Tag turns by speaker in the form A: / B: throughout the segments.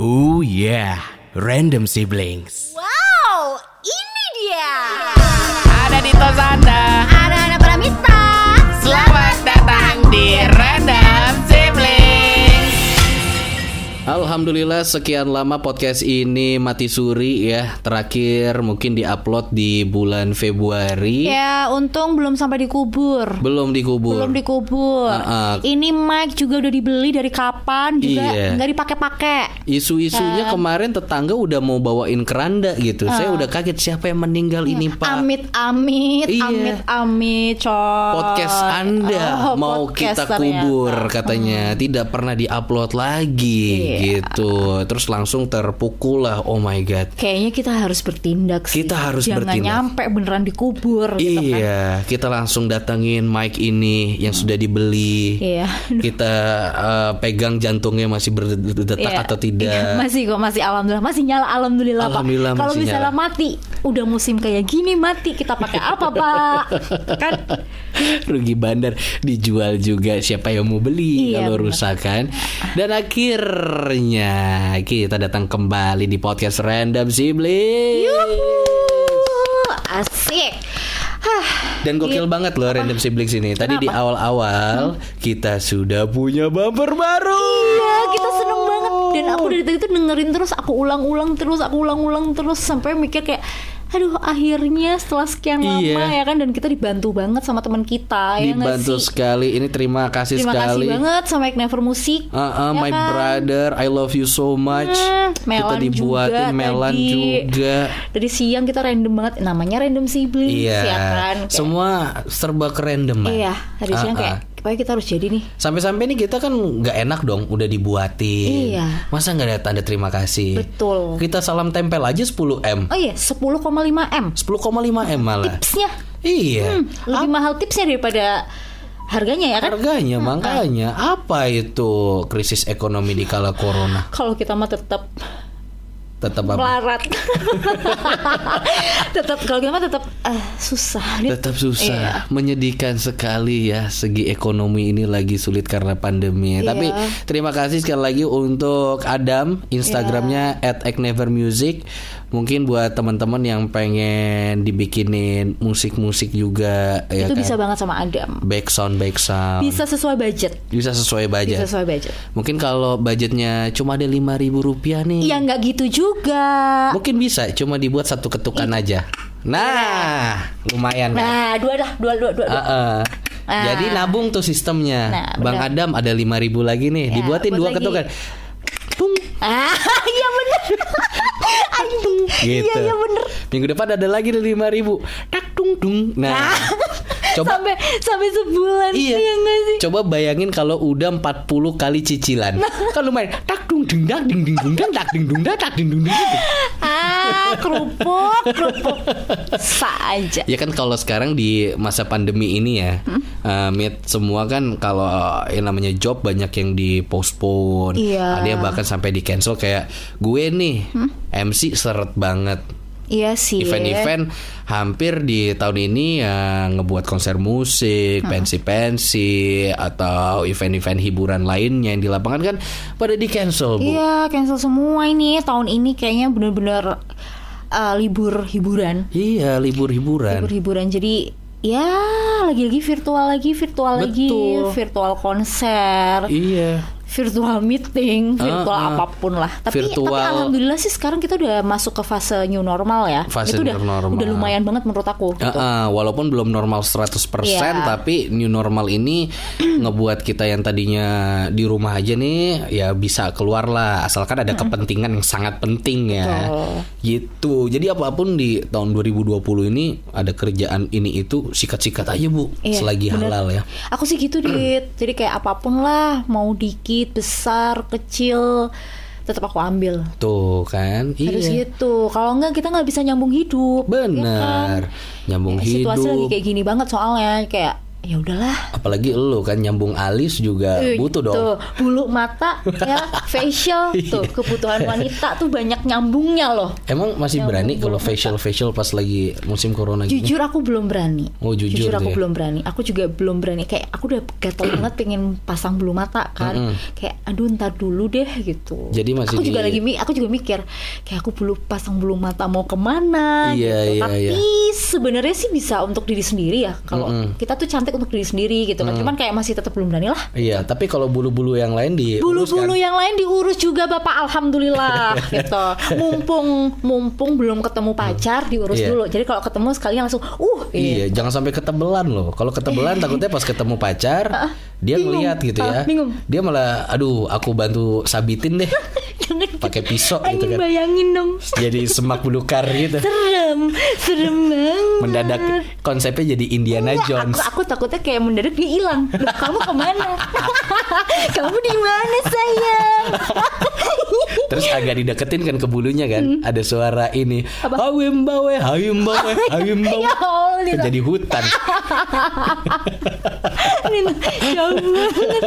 A: Oh yeah, random siblings.
B: Wow, ini dia.
C: Ada di tos Anda.
B: Ada anak Pramita.
C: Selamat datang di Random Siblings.
D: Alhamdulillah sekian lama podcast ini mati suri ya Terakhir mungkin diupload di bulan Februari
E: Ya, untung belum sampai dikubur.
D: Belum dikubur
E: Belum dikubur.
D: Ah, ah.
E: Ini mic juga udah dibeli dari kapan juga
D: Iya.
E: nggak dipakai-pakai.
D: Isu-isunya ya,
E: Kan?
D: kemarin tetangga udah mau bawain keranda gitu Saya udah kaget siapa yang meninggal ini
E: Ya,
D: pak
E: Amit amit,
D: Iya.
E: amit amit, coy.
D: Podcast
E: Oh,
D: Anda mau
E: podcast Hmm.
D: kita kubur katanya Tidak pernah diupload
E: Iya.
D: lagi gitu Terus langsung terpukul lah oh my god
E: ternyata. Kayaknya kita harus bertindak sih.
D: Kita harus
E: Jangan
D: bertindak.
E: nyampe beneran dikubur gitu kan.
D: Iya, kita langsung datangin mic ini yang sudah dibeli.
E: Iya.
D: Kita eh, pegang jantungnya masih berdetak
E: Iya.
D: atau tidak.
E: Iya, Masih kok masih alhamdulillah masih nyala alhamdulillah,
D: Alhamdulillah
E: Pak. Kalau
D: masih
E: misalnya
D: nyala.
E: mati, udah musim kayak gini mati kita pakai apa, Pak? Kan
D: Rugi bandar dijual juga siapa yang mau beli
E: Iya, benar.
D: kalau rusak kan. Dan akhirnya kita datang kembali di podcast Random Sibling.
E: Yuhu, asik. Hah,
D: Dan gokil
E: Iya.
D: banget loh Random Siblings ini. Tadi di awal-awal kita sudah punya bumper baru.
E: Hmm? iya, kita seneng banget dan aku dari tadi tuh dengerin terus, aku ulang-ulang terus, aku ulang-ulang terus sampai mikir kayak aduh akhirnya setelah sekian lama ya
D: Iya.
E: kan dan kita dibantu banget sama teman kita ya nggak
D: Dibantu
E: sih?
D: sekali. Ini terima kasih
E: Terima
D: sekali.
E: kasih banget sama Ignite Never Music.
D: Ah, ah,
E: ya
D: my
E: kan?
D: brother, I love you so much.
E: Hmm, Melan
D: kita dibuatin
E: juga
D: melan
E: tadi.
D: juga.
E: Dari siang kita random banget namanya random siblings
D: Iya.
E: ya kan. Kayak-
D: Semua serba kerendeman.
E: Iya, dari siang
D: Ah,
E: kayak
D: ah.
E: pokoknya kita harus jadi nih.
D: Sampai-sampai nih kita kan nggak enak dong udah dibuatin.
E: Iya.
D: Masa nggak ada tanda terima kasih?
E: Betul.
D: Kita salam tempel aja 10M.
E: Oh iya, 10,5M.
D: 10,5M malah.
E: Tipsnya
D: Iya.
E: lebih mahal tipsnya daripada harganya ya Hmm, kan
D: Harganya makanya apa itu krisis ekonomi di kala corona?
E: kalau kita mah tetap
D: Tetap apa?
E: melarat tetap kalau kita mah tetap eh, susah Dit.
D: Tetap
E: Iya.
D: susah, menyedihkan sekali ya segi ekonomi ini lagi sulit karena pandemi.
E: Iya.
D: Tapi terima kasih sekali lagi untuk Adam, Instagramnya
E: Iya.
D: @eknevermusic. Mungkin buat teman-teman yang pengen dibikinin musik-musik juga ya
E: itu
D: kan?
E: bisa banget sama Adam
D: back sound back sound
E: bisa sesuai budget
D: Bisa sesuai budget.
E: bisa sesuai budget
D: Mungkin kalau budgetnya cuma ada lima ribu rupiah nih,
E: ya nggak gitu juga
D: mungkin bisa cuma dibuat satu ketukan aja. Nah, lumayan. kan?
E: Iya. nah dua dah dua dua dua, dua.
D: Heeh.
E: Ah.
D: Jadi nabung tuh sistemnya.
E: Nah,
D: Bang
E: benar.
D: Adam ada 5000 lagi nih,
E: Ya,
D: dibuatin
E: buat
D: dua
E: lagi.
D: ketukan. Tung
E: ah iya bener Anjing.
D: gitu.
E: iya iya bener
D: Minggu depan ada lagi nih 5000. Tak tung tung. Nah. coba
E: Ah, sampai sampai sebulan
D: iya.
E: ya nggak sih Nah.
D: Coba bayangin kalau udah 40 kali cicilan. Kalau main tak dung ding dak ding ding dung dang tak ding dung dak tak ding dung ding. ding.
E: ah kerupuk kerupuk saja
D: Ya kan kalau sekarang di masa pandemi ini ya,
E: Hmm?
D: eh, Mit, semua kan kalau yang namanya job banyak yang di postpone,
E: Iya. Hmm?
D: ada yang bahkan sampai di cancel kayak gue nih MC seret banget.
E: iya sih
D: Event-event hampir di tahun ini ya ngebuat konser musik,
E: Hmm.
D: pensi-pensi atau event-event hiburan lainnya yang di lapangan kan pada di cancel, Bu.
E: Iya, cancel semua ini. Tahun ini kayaknya bener-bener uh, libur hiburan.
D: Iya, libur-hiburan.
E: Libur hiburan. Jadi ya lagi-lagi virtual lagi, virtual lagi,
D: Betul.
E: virtual konser,
D: Iya.
E: virtual meeting,
D: Ah,
E: virtual
D: ah.
E: apapun lah. Tapi
D: Virtual-
E: tapi alhamdulillah sih sekarang kita udah masuk ke fase new normal ya.
D: Fase
E: Itu udah
D: new normal. Ah.
E: udah lumayan banget menurut aku gitu.
D: Heeh, walaupun belum normal 100%
E: Iya.
D: tapi new normal ini ngebuat kita yang tadinya di rumah aja nih ya bisa keluar lah asalkan ada kepentingan yang sangat penting ya.
E: Betul.
D: Gitu. Jadi apapun di tahun 2020 ini ada kerjaan ini itu sikat-sikat aja Bu
E: Iya,
D: selagi
E: bener.
D: halal ya.
E: Aku sih gitu dit. Jadi kayak apapun lah, mau dikit, besar, kecil, tetap aku ambil.
D: Tuh kan.
E: Harus gitu. Kalau enggak kita nggak bisa nyambung hidup. ya kan? Iya,
D: Bener. Nyambung
E: Situasi lagi gitu.
D: hidup.
E: kayak gini banget soalnya kayak ya udahlah
D: Apalagi lu kan nyambung alis juga
E: Eh,
D: butuh dong. Iya.
E: tuh, bulu mata ya facial tuh kebutuhan wanita tuh banyak nyambungnya loh
D: Emang masih
E: Nyambung
D: berani
E: bulu
D: kalau
E: mata.
D: facial facial pas lagi musim corona gini?
E: jujur aku belum berani
D: Gitu. Oh, jujur tuh
E: aku
D: ya.
E: belum berani aku juga belum berani kayak aku udah gatel banget pengen pasang bulu mata kan kayak aduh ntar dulu deh gitu
D: Jadi masih
E: aku juga
D: di-
E: lagi mi- aku juga mikir kayak aku bulu pasang bulu mata mau kemana
D: Iya,
E: gitu
D: iya,
E: tapi
D: iya.
E: sebenarnya sih bisa untuk diri sendiri ya kalau kita tuh cantik untuk diri sendiri gitu kan cuman kayak masih tetap belum berani lah
D: Iya, tapi kalau bulu-bulu yang lain di
E: bulu-bulu
D: kan?
E: yang lain diurus juga bapak alhamdulillah gitu mumpung mumpung belum ketemu pacar diurus
D: Iya.
E: dulu jadi kalau ketemu sekalian langsung uh
D: Iya, jangan sampai ketebelan loh. Kalau ketebelan takutnya pas ketemu pacar
E: Ah,
D: dia
E: bingung.
D: ngeliat gitu
E: Ah,
D: ya.
E: bingung.
D: Dia malah aduh aku bantu sabitin deh
E: jangan
D: pakai pisau
E: Ayo
D: gitu kan.
E: bayangin dong
D: Jadi semak belukar gitu.
E: serem serem banget
D: Mendadak konsepnya jadi Indiana
E: Enggak,
D: Jones.
E: aku, aku takutnya kayak mendadak dia hilang Loh, kamu kemana kamu di mana sayang
D: Terus agak dideketin kan ke bulunya
E: Hmm.
D: kan. Ada suara ini. Awimbawe, awimbawe, awimbawe.
E: ya Allah Nino.
D: Jadi hutan.
E: Nino, jauh banget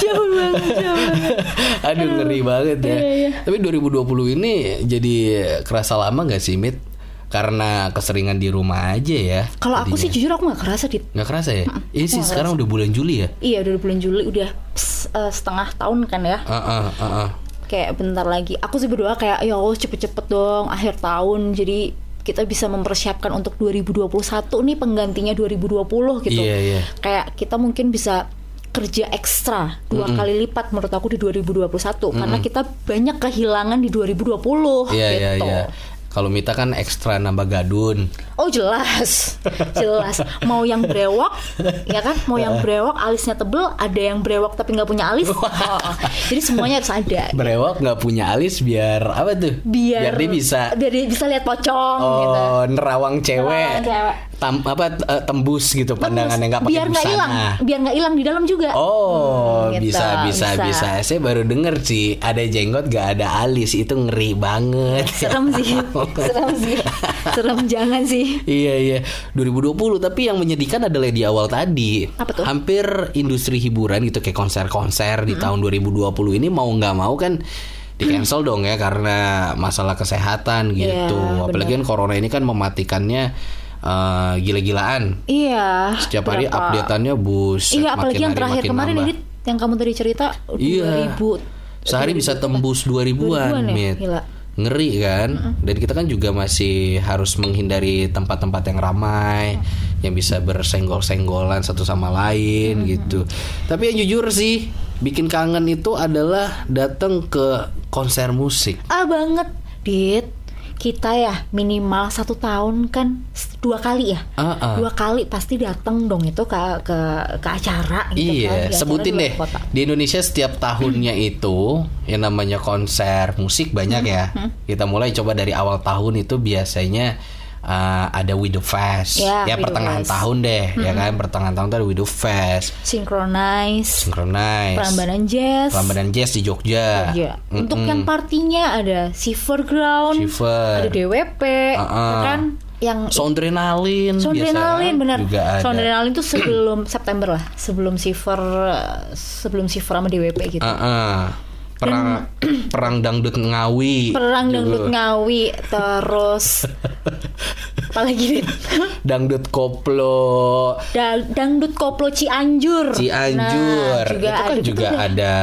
E: jauh banget jauh banget
D: Aduh ngeri banget ya.
E: Iya, iya.
D: Tapi 2020 ini jadi kerasa lama nggak sih Mit? Karena keseringan di rumah aja ya.
E: kalau aku sih jujur aku nggak kerasa di
D: nggak kerasa ya. Ini sih sekarang udah bulan Juli ya.
E: Iya udah bulan Juli udah ps- eh, setengah tahun kan ya
D: Heeh, heeh.
E: Kayak bentar lagi Aku sih berdoa kayak ya Allah cepet-cepet dong akhir tahun Jadi kita bisa mempersiapkan untuk 2021 nih penggantinya 2020 gitu
D: Iya, iya.
E: Kayak kita mungkin bisa kerja ekstra dua kali lipat menurut aku di 2021 Karena kita banyak kehilangan di 2020 gitu
D: Iya, iya, iya. Kalau Mita kan ekstra nambah gadun.
E: Oh jelas, jelas. Mau yang brewok, ya kan? Mau
D: Iya.
E: yang brewok, alisnya tebel, ada yang brewok tapi nggak punya alis. Oh, jadi semuanya harus ada.
D: Berewok nggak punya alis biar apa tuh?
E: Biar, gitu.
D: dia bisa
E: biar dia bisa lihat pocong. gitu.
D: oh nerawang cewek.
E: Nerawang cewek.
D: Tam, apa eh, tembus gitu pandangan yang nggak pakai
E: biar nggak
D: busana.
E: hilang, biar nggak hilang di dalam juga.
D: Oh,
E: Hmm, gitu,
D: bisa, bisa, bisa, Saya baru denger sih ada jenggot gak ada alis itu ngeri banget.
E: Serem sih, serem sih, serem jangan sih.
D: Iya iya 2020 tapi yang menyedihkan adalah di awal tadi
E: Apa tuh? Hmm.
D: Hampir industri hiburan gitu kayak konser-konser di tahun 2020 ini mau nggak mau kan di cancel dong ya karena masalah kesehatan gitu
E: Iya,
D: Apalagi kan corona ini kan mematikannya eh, gila-gilaan
E: Iya.
D: Setiap hari
E: berapa-
D: updateannya bus
E: Iya, apalagi yang terakhir kemarin ini yang kamu tadi cerita
D: Iya.
E: 2000
D: Sehari bisa tembus 2000-an,
E: 2000-an ya?
D: Mit.
E: Gila.
D: Ngeri kan? Dan kita kan juga masih harus menghindari tempat-tempat yang ramai, yang bisa bersenggol-senggolan satu sama lain gitu. Tapi yang jujur sih, bikin kangen itu adalah datang ke konser musik.
E: Ah banget, Dit. Kita ya minimal satu tahun kan s- dua kali ya,
D: Ah, ah.
E: dua kali pasti datang dong itu ke ke ke acara. Gitu kan,
D: Iya,
E: di acara
D: sebutin
E: di luar
D: deh.
E: kota.
D: Di Indonesia setiap tahunnya itu yang namanya konser musik banyak ya.
E: Mm-hmm.
D: Kita mulai coba dari awal tahun itu biasanya uh, ada Widow Fest.
E: Ya,
D: Ya,
E: Widow Fest.
D: pertengahan
E: Mm-hmm.
D: tahun deh, ya kan pertengahan tahun tuh ada Widow Fest,
E: Synchronize,
D: Synchronize,
E: Prambanan Jazz.
D: Prambanan Jazz di Jogja.
E: Iya.
D: Mm-mm.
E: Untuk yang partinya ada Silver Ground,
D: Shiver.
E: ada DWP,
D: Ah, ah.
E: ya kan yang
D: Soundrenalin
E: Soundrenalin
D: biasa
E: bener
D: juga ada.
E: Soundrenalin tuh sebelum September lah Sebelum Silver Sebelum Silver sama DWP gitu
D: Ah, ah. Perang perang dangdut Ngawi.
E: Perang
D: juga.
E: dangdut Ngawi terus apalagi Dit?
D: dangdut koplo.
E: Da- dangdut koplo Cianjur.
D: Cianjur
E: Nah, juga
D: itu kan
E: ada
D: juga
E: tuh deh.
D: ada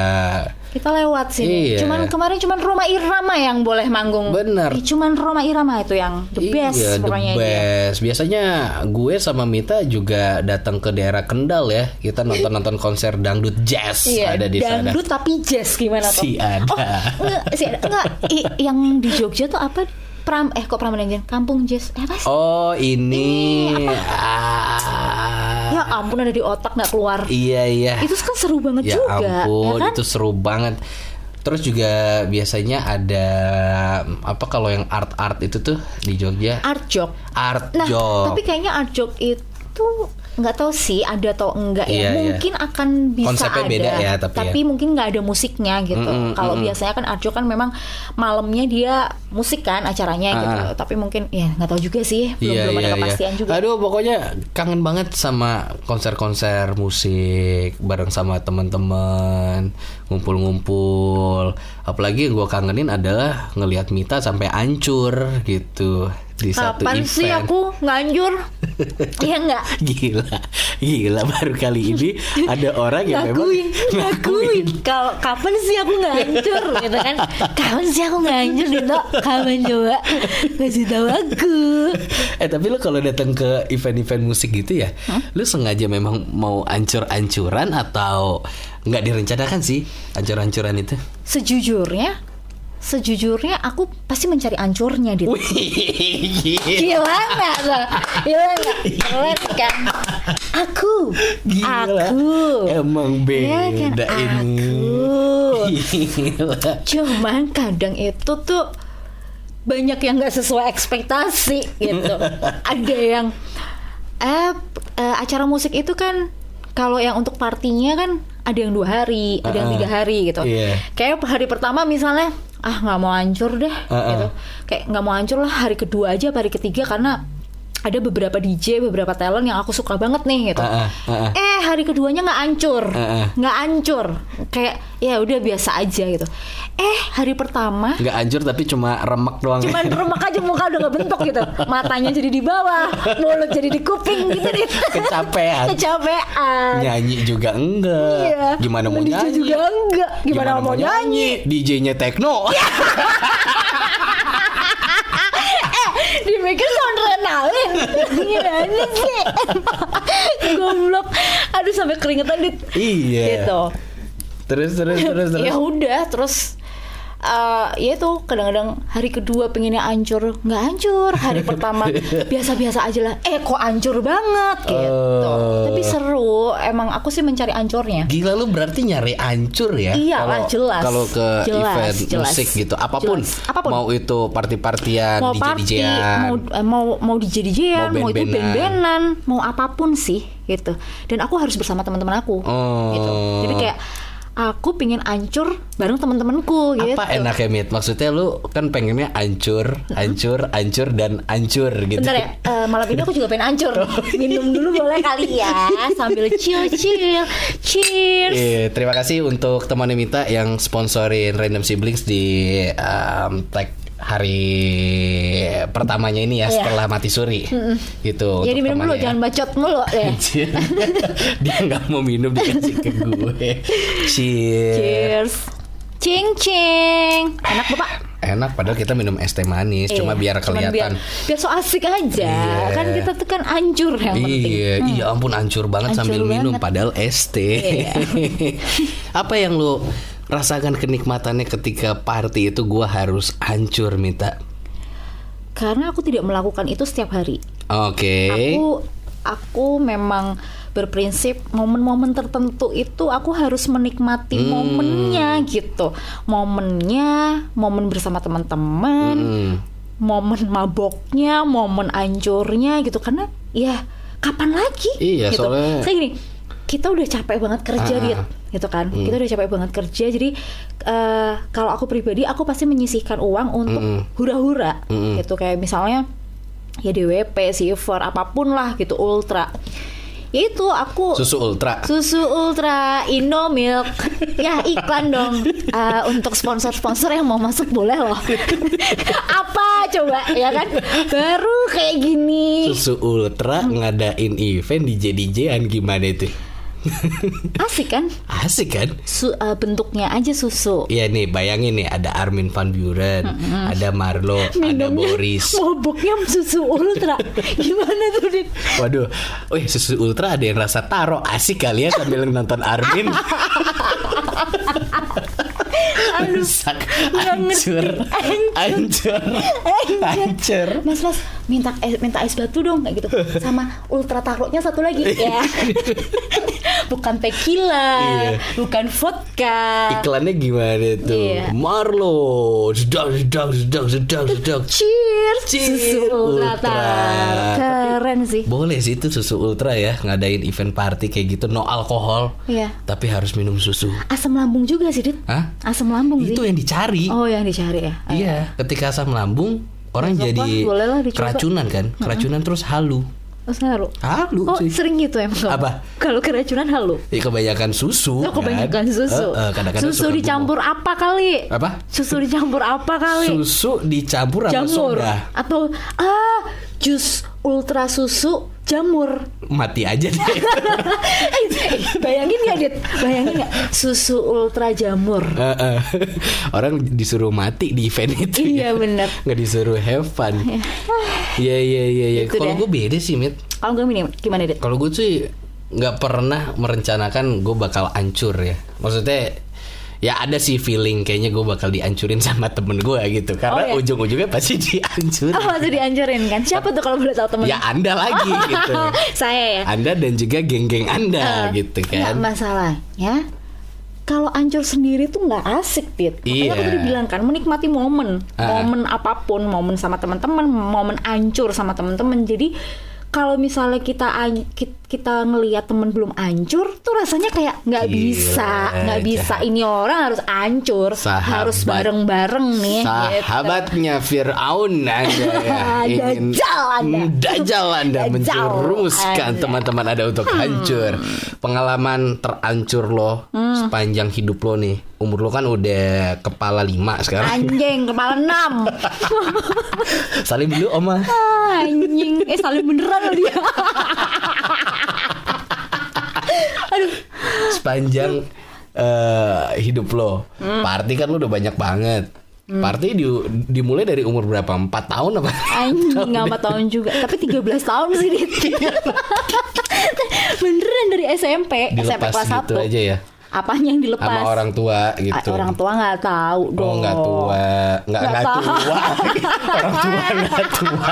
E: Kita lewat sini.
D: Iya.
E: Cuman kemarin cuman Roma Irama yang boleh manggung.
D: Bener.
E: Ih, Ya, Cuman Roma Irama itu yang the best
D: iya the
E: pokoknya ya. dia.
D: best biasanya gue sama Mita juga datang ke daerah Kendal ya kita nonton nonton konser dangdut jazz
E: Iya,
D: ada di sana
E: dangdut tapi jazz gimana tuh?
D: Si ada.
E: Oh, enggak, si ada. Enggak, I- yang di Jogja tuh apa? Pram eh kok Pram Kampung Jazz. Eh, apa sih?
D: oh ini
E: Ya
D: ah,
E: ampun ada di otak nggak keluar.
D: iya iya
E: Ya. Itu kan seru banget
D: ya
E: juga, ya
D: ampun
E: kan?
D: itu seru banget terus juga biasanya ada apa kalau yang art art itu tuh di Jogja
E: Art Jog.
D: art
E: Nah,
D: Jog.
E: tapi kayaknya Arjok itu nggak tahu sih ada atau enggak
D: Iya,
E: ya
D: iya.
E: mungkin akan bisa
D: Konsepnya
E: ada
D: beda ya, tapi ya.
E: mungkin nggak ada musiknya gitu
D: Mm-mm,
E: kalau
D: mm-mm.
E: biasanya kan Arjo kan memang malamnya dia musik kan acaranya
D: Ah,
E: gitu
D: ah. Iya,
E: tapi mungkin ya nggak tahu juga sih belum belum ada kepastian juga
D: Aduh, pokoknya kangen banget sama konser-konser musik bareng sama teman-teman, ngumpul-ngumpul. Apalagi yang gue kangenin adalah ngelihat Mita sampai hancur gitu di satu
E: kapan
D: event.
E: sih aku nganjur Iya nggak
D: Gila, gila baru kali ini ada orang yang Ya, memang
E: ngakuin ngakuin kalau kapan sih aku ngancur gitu kan kapan sih aku ngancur Dito kapan coba kasih tahu aku
D: Eh tapi lu kalau datang ke event-event musik gitu ya, lu sengaja memang mau ancur-ancuran atau nggak direncanakan sih ancur-ancuran itu?
E: sejujurnya sejujurnya aku pasti mencari ancurnya Dito
D: Wih,
E: Gila gak tuh? Gila gak? Keren kan? Aku
D: gila.
E: Aku
D: Emang
E: Iya
D: beda
E: kan?
D: ini.
E: Aku
D: Gila.
E: Cuman kadang itu tuh banyak yang nggak sesuai ekspektasi gitu. Ada yang eh, eh, acara musik itu kan kalau yang untuk partinya kan ada yang dua hari, ada yang
D: Uh-uh.
E: tiga hari gitu.
D: Iya.
E: Kayak hari pertama misalnya ah nggak mau hancur deh
D: Uh-uh.
E: gitu. Kayak nggak mau hancur lah hari kedua aja, apa hari ketiga karena ada beberapa DJ, beberapa talent yang aku suka banget nih gitu.
D: Uh-uh, uh-uh.
E: Eh hari keduanya nggak hancur,
D: Uh-uh.
E: nggak hancur. Kayak ya udah biasa aja gitu. Eh hari pertama
D: Nggak hancur tapi cuma remek doang.
E: cuman remek aja muka udah nggak bentuk gitu, matanya jadi di bawah, mulut jadi di kuping gitu deh.
D: Kecapean. Ya.
E: Kecapean.
D: nyanyi juga enggak.
E: Iya.
D: Gimana mau
E: DJ
D: nyanyi?
E: juga enggak. Gimana, mau nyanyi? Iya.
D: DJ-nya techno.
E: Dibikin sound renalin Gimana sih Goblok Aduh sampai keringetan dit
D: Iya.
E: Gitu
D: Terus terus terus terus.
E: Ya udah terus eh ya itu kadang-kadang hari kedua pengennya hancur nggak hancur hari pertama biasa-biasa aja lah eh kok hancur banget gitu
D: Oh.
E: tapi seru emang aku sih mencari hancurnya
D: Gila lu berarti nyari ancur ya?
E: Iyalah, Iya,
D: Kalau-
E: jelas.
D: Kalau ke
E: Jelas,
D: event
E: jelas.
D: musik gitu, apapun,
E: Jelas. Apapun.
D: mau itu party-partian,
E: mau
D: DJ
E: party
D: DJ-an.
E: mau eh, mau mau DJ DJ-an
D: Mau
E: mau, itu
D: band-bandan.
E: band-bandan mau apapun sih gitu dan aku harus bersama teman-teman aku
D: Oh.
E: gitu jadi kayak aku pingin ancur bareng teman-temanku gitu
D: Apa enaknya Mit? Maksudnya lu kan pengennya ancur, ancur, ancur dan ancur gitu.
E: Bentar ya, eh, malam ini aku juga pengen ancur
D: Oh, iya.
E: Minum dulu boleh kali ya Sambil chill chill Cheers
D: Iya, terima kasih untuk temannya Mita yang sponsorin Random Siblings di um, tag hari pertamanya ini ya
E: Iya.
D: setelah mati suri. Gitu.
E: Jadi
D: untuk
E: minum dulu,
D: temannya ya. Iya.
E: jangan bacot mulu deh.
D: Anjir. Dia nggak mau minum dikasih ke gue. Cheers.
E: Cheers Cing cing Enak bapak
D: Enak padahal kita minum es teh manis, cuma
E: Iya,
D: biar
E: cuman
D: kelihatan.
E: biar, biar so asik aja
D: Iya.
E: Kan kita tuh kan ancur yang penting
D: Iya, iya ampun hancur banget
E: Hancur
D: sambil
E: banget.
D: minum
E: Iya.
D: padahal es teh. Apa yang lu rasakan kenikmatannya ketika party itu gua harus hancur minta.
E: Karena aku tidak melakukan itu setiap hari
D: Oke.
E: Aku aku memang berprinsip momen-momen tertentu itu aku harus menikmati
D: Hmm.
E: momennya gitu. Momennya, momen bersama teman-teman,
D: Hmm.
E: momen maboknya, momen ancurnya gitu karena ya kapan lagi
D: Iya,
E: gitu.
D: soalnya-
E: Saya gini, kita udah capek banget kerja
D: Ah.
E: Dit, gitu kan. Kita udah capek banget kerja jadi eh, kalau aku pribadi aku pasti menyisihkan uang untuk
D: Mm-mm.
E: hura-hura
D: Mm-mm.
E: gitu kayak misalnya ya DWP, silver, apapun lah gitu ultra. Ya itu aku
D: Susu ultra.
E: Susu Ultra Indomilk Ya iklan dong Eh, Untuk sponsor-sponsor yang mau masuk boleh loh Apa coba ya kan Baru kayak gini
D: Susu ultra ngadain event di DJ-an gimana itu?
E: Asik kan
D: Asik kan?
E: Su- eh, Bentuknya aja susu
D: Iya nih, bayangin nih ada Armin van Buren, ada Marlo, ada Boris.
E: Mabuknya susu ultra Gimana tuh Dit?
D: Waduh, wih susu ultra ada yang rasa taro asik kali ya sambil nonton Armin. Rusak,
E: nggak
D: hancur,
E: ngerti.
D: hancur,
E: Iya.
D: hancur.
E: Mas mas minta es, minta es batu dong kayak gitu sama ultra taroknya satu lagi ya bukan tequila,
D: Iya.
E: bukan vodka.
D: Iklannya gimana tuh?
E: Iya.
D: Marlo, sedang, sedang, sedang, sedang, sedang.
E: Cheers,
D: Cheers,
E: susu ultra.
D: Ultra.
E: Keren sih.
D: Boleh sih itu susu ultra ya ngadain event party kayak gitu no alkohol.
E: Iya.
D: Tapi harus minum susu.
E: Asam lambung juga sih, Dit.
D: Hah?
E: Asam lambung sih.
D: Itu yang dicari.
E: Oh, yang dicari ya. Eh,
D: Iya, ketika asam lambung orang
E: Coba,
D: jadi
E: Iya, bolehlah dicoba.
D: keracunan kan? Keracunan terus halu.
E: Terus halu.
D: Halu
E: Oh,
D: sih.
E: sering gitu emang. kalau-
D: Apa?
E: Kalau keracunan halu.
D: Ya, kebanyakan susu.
E: Oh, kebanyakan susu.
D: Eh, eh, kadang-kadang
E: susu
D: suka bengong.
E: dicampur apa kali?
D: Apa?
E: Susu dicampur apa kali?
D: Susu dicampur sama
E: jamur
D: soda.
E: atau ah jus ultra susu jamur.
D: Mati aja deh.
E: Eh, bayangin nggak, Dit? Bayangin nggak susu ultra jamur?
D: Eh, eh. Orang disuruh mati di event itu.
E: Iya,
D: ya.
E: bener.
D: Nggak disuruh have fun. Iya iya iya. iya.
E: Gitu
D: Kalau
E: deh.
D: gue beda sih, Mit.
E: Kalau gue minim, gimana, Dit?
D: Kalau gue sih nggak pernah merencanakan gue bakal hancur ya. Maksudnya ya ada sih feeling kayaknya gue bakal dihancurin sama temen gue gitu karena
E: Oh, iya.
D: ujung-ujungnya pasti dihancurin.
E: Oh, iya. masih dianjurin kan? Siapa tuh kalau boleh tahu temen?
D: Ya anda lagi gitu.
E: Saya ya.
D: Anda dan juga geng-geng anda
E: Eh,
D: gitu
E: nggak,
D: kan.
E: masalahnya kalau ancur sendiri tuh nggak asik dit Makanya
D: Iya.
E: aku tadi bilang kan menikmati momen
D: Ah.
E: momen apapun momen sama teman-teman momen ancur sama teman-teman jadi kalau misalnya kita an- ki- kita ngelihat temen belum ancur tuh rasanya kayak nggak
D: Gila,
E: bisa nggak bisa
D: jahat.
E: ini orang harus ancur
D: Sahabat.
E: harus bareng-bareng nih gitu.
D: Sahabatnya Fir'aun Anda ya Ingin-
E: Dajjal Anda.
D: Mm, Dajjal Anda
E: Dajjal
D: Menjerumuskan
E: Anda. Hmm.
D: teman-teman Anda untuk hancur Pengalaman terancur lo
E: Hmm.
D: Sepanjang hidup lo nih Umur lo kan udah kepala lima sekarang
E: anjing kepala enam
D: Salim dulu oma
E: anjing eh saling beneran loh dia
D: Sepanjang eh, hidup lo
E: Hmm.
D: Party kan lo udah banyak banget Party di- dimulai dari umur berapa? 4 tahun apa?
E: Anjing nggak empat tahun juga Tapi 13 tahun sih Dit Beneran dari SMP SMP
D: Dilepas
E: kelas
D: gitu
E: 1
D: aja ya
E: Apanya yang dilepas
D: Sama orang tua
E: Ah,
D: gitu
E: Orang tua nggak tahu dong
D: Oh nggak tua, nggak
E: Nggak
D: nggak
E: tahu.
D: tua, orang tua nggak tua,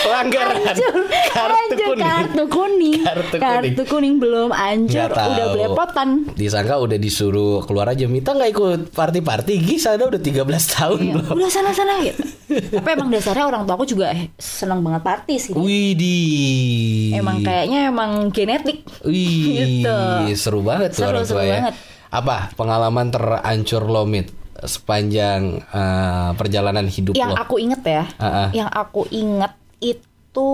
D: pelanggaran
E: Anjur,
D: kartu
E: anjur,
D: kuning.
E: kartu kuning,
D: Kartu kuning.
E: Kartu kuning belum anjur,
D: Nggak tahu.
E: udah belepotan.
D: Disangka udah disuruh keluar aja Mita nggak ikut party-party Gis ada udah 13 tahun
E: Ya,
D: loh
E: udah sana sana gitu. Tapi emang dasarnya orang tua aku juga eh, seneng banget party sih.
D: Widih
E: Emang kayaknya emang genetik.
D: Wih
E: Gitu.
D: Seru banget tuh
E: Seru,
D: orang
E: seru
D: tua ya
E: banget.
D: Apa pengalaman terancur lo Mit Sepanjang eh, perjalanan hidup
E: yang
D: lo
E: aku inget ya,
D: Ah, ah.
E: yang aku inget itu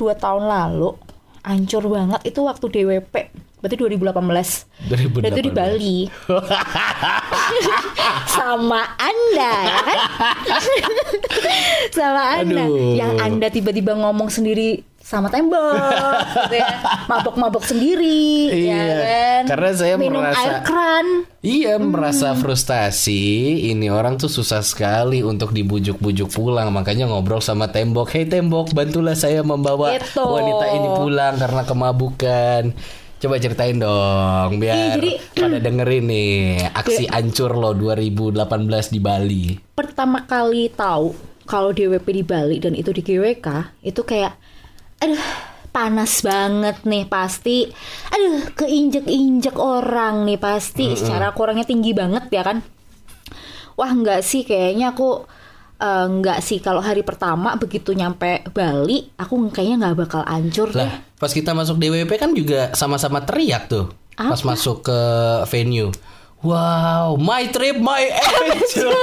E: dua tahun lalu, hancur banget itu waktu DWP, berarti 2018.
D: 2018.
E: Itu di Bali. Sama Anda, ya kan? sama Anda,
D: Aduh.
E: yang Anda tiba-tiba ngomong sendiri sama tembok, gitu ya. mabok-mabok sendiri,
D: Iya,
E: ya kan?
D: karena saya
E: minum
D: merasa-
E: air keran.
D: Iya
E: Hmm.
D: merasa frustasi Ini orang tuh susah sekali untuk dibujuk-bujuk pulang Makanya ngobrol sama tembok Hei tembok bantulah saya membawa
E: Gitu.
D: wanita ini pulang karena kemabukan Coba ceritain dong biar
E: Iya, jadi- Iya.
D: pada dengerin nih Aksi ancur lo 2018 di Bali
E: pertama kali tahu kalau DWP di Bali dan itu di GWK itu kayak aduh panas banget nih pasti aduh keinjek-injek orang nih pasti secara aku orangnya tinggi banget ya kan wah nggak sih kayaknya aku eh, nggak sih kalau hari pertama begitu nyampe Bali aku kayaknya nggak bakal ancur deh
D: Lah pas kita masuk DWP kan juga sama-sama teriak tuh Pas masuk ke venue Wow, my trip, my adventure.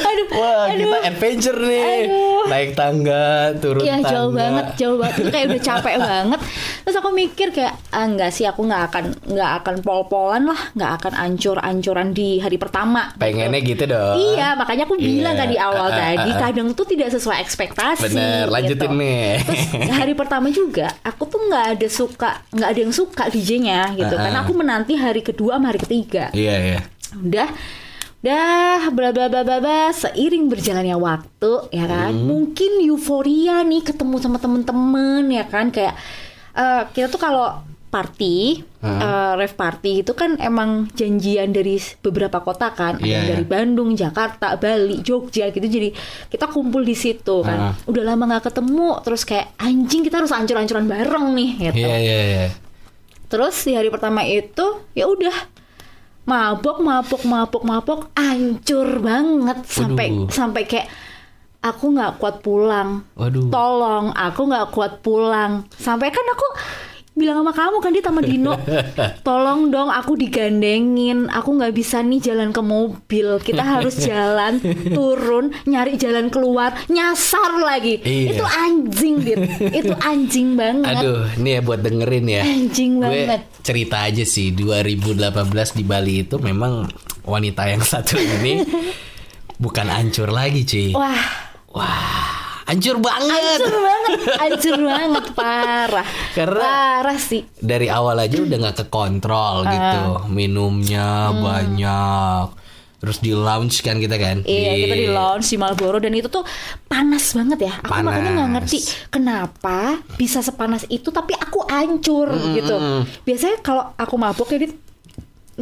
E: aduh
D: Wah, kita adventure nih. Naik tangga, turun
E: Iya
D: tangga.
E: jauh banget, jauh banget. Itu kayak udah capek banget. Terus aku mikir kayak ah, nggak sih aku nggak akan nggak akan pol-polan lah, nggak akan ancur-ancuran di hari pertama.
D: Pengennya gitu dong.
E: Iya, makanya aku bilang
D: Iya.
E: kan di awal
D: Ah, ah,
E: tadi
D: ah, ah.
E: kadang tuh tidak sesuai ekspektasi.
D: Bener, lanjutin nih.
E: Terus hari pertama juga aku tuh nggak ada suka, nggak ada yang suka DJ-nya gitu.
D: Ah, ah.
E: Karena aku menanti hari kedua sama hari ketiga.
D: Iya, iya.
E: udah udah bla bla bla bla bla seiring berjalannya waktu ya kan
D: Hmm.
E: mungkin euforia nih ketemu sama temen-temen ya kan kayak eh, kita tuh kalau party, eh, rave party itu kan emang janjian dari beberapa kota kan, ada
D: Iya,
E: yang
D: iya.
E: dari Bandung, Jakarta, Bali, Jogja gitu. Jadi kita kumpul di situ kan.
D: Ah.
E: Udah lama nggak ketemu, terus kayak anjing kita harus ancur-ancuran bareng nih gitu.
D: Iya iya iya.
E: Terus di hari pertama itu ya udah mabok mabok mabok mabok ancur banget sampai
D: Waduh.
E: sampai kayak aku nggak kuat pulang.
D: Waduh.
E: Tolong, aku nggak kuat pulang. Sampai kan aku bilang sama kamu kan di sama Dino, tolong dong aku digandengin, aku nggak bisa nih jalan ke mobil, kita harus jalan turun nyari jalan keluar nyasar lagi,
D: Iya.
E: itu anjing dit, itu anjing banget.
D: Aduh, ini ya buat dengerin ya.
E: Anjing
D: Gue
E: banget.
D: cerita aja sih 2018 di Bali itu memang wanita yang satu ini bukan ancur lagi, cuy.
E: Wah.
D: Ancur banget.
E: Hancur banget, hancur banget parah.
D: Karena-
E: parah sih.
D: Dari awal aja udah nggak kekontrol
E: Ah.
D: gitu. Minumnya
E: Hmm.
D: banyak. Terus di lounge kan kita kan?
E: Iya, kita di lounge di Malboro dan itu tuh panas banget ya. Aku
D: Panas.
E: makanya nggak ngerti kenapa bisa sepanas itu tapi aku hancur gitu. Biasanya kalau aku mabuk ya Dit,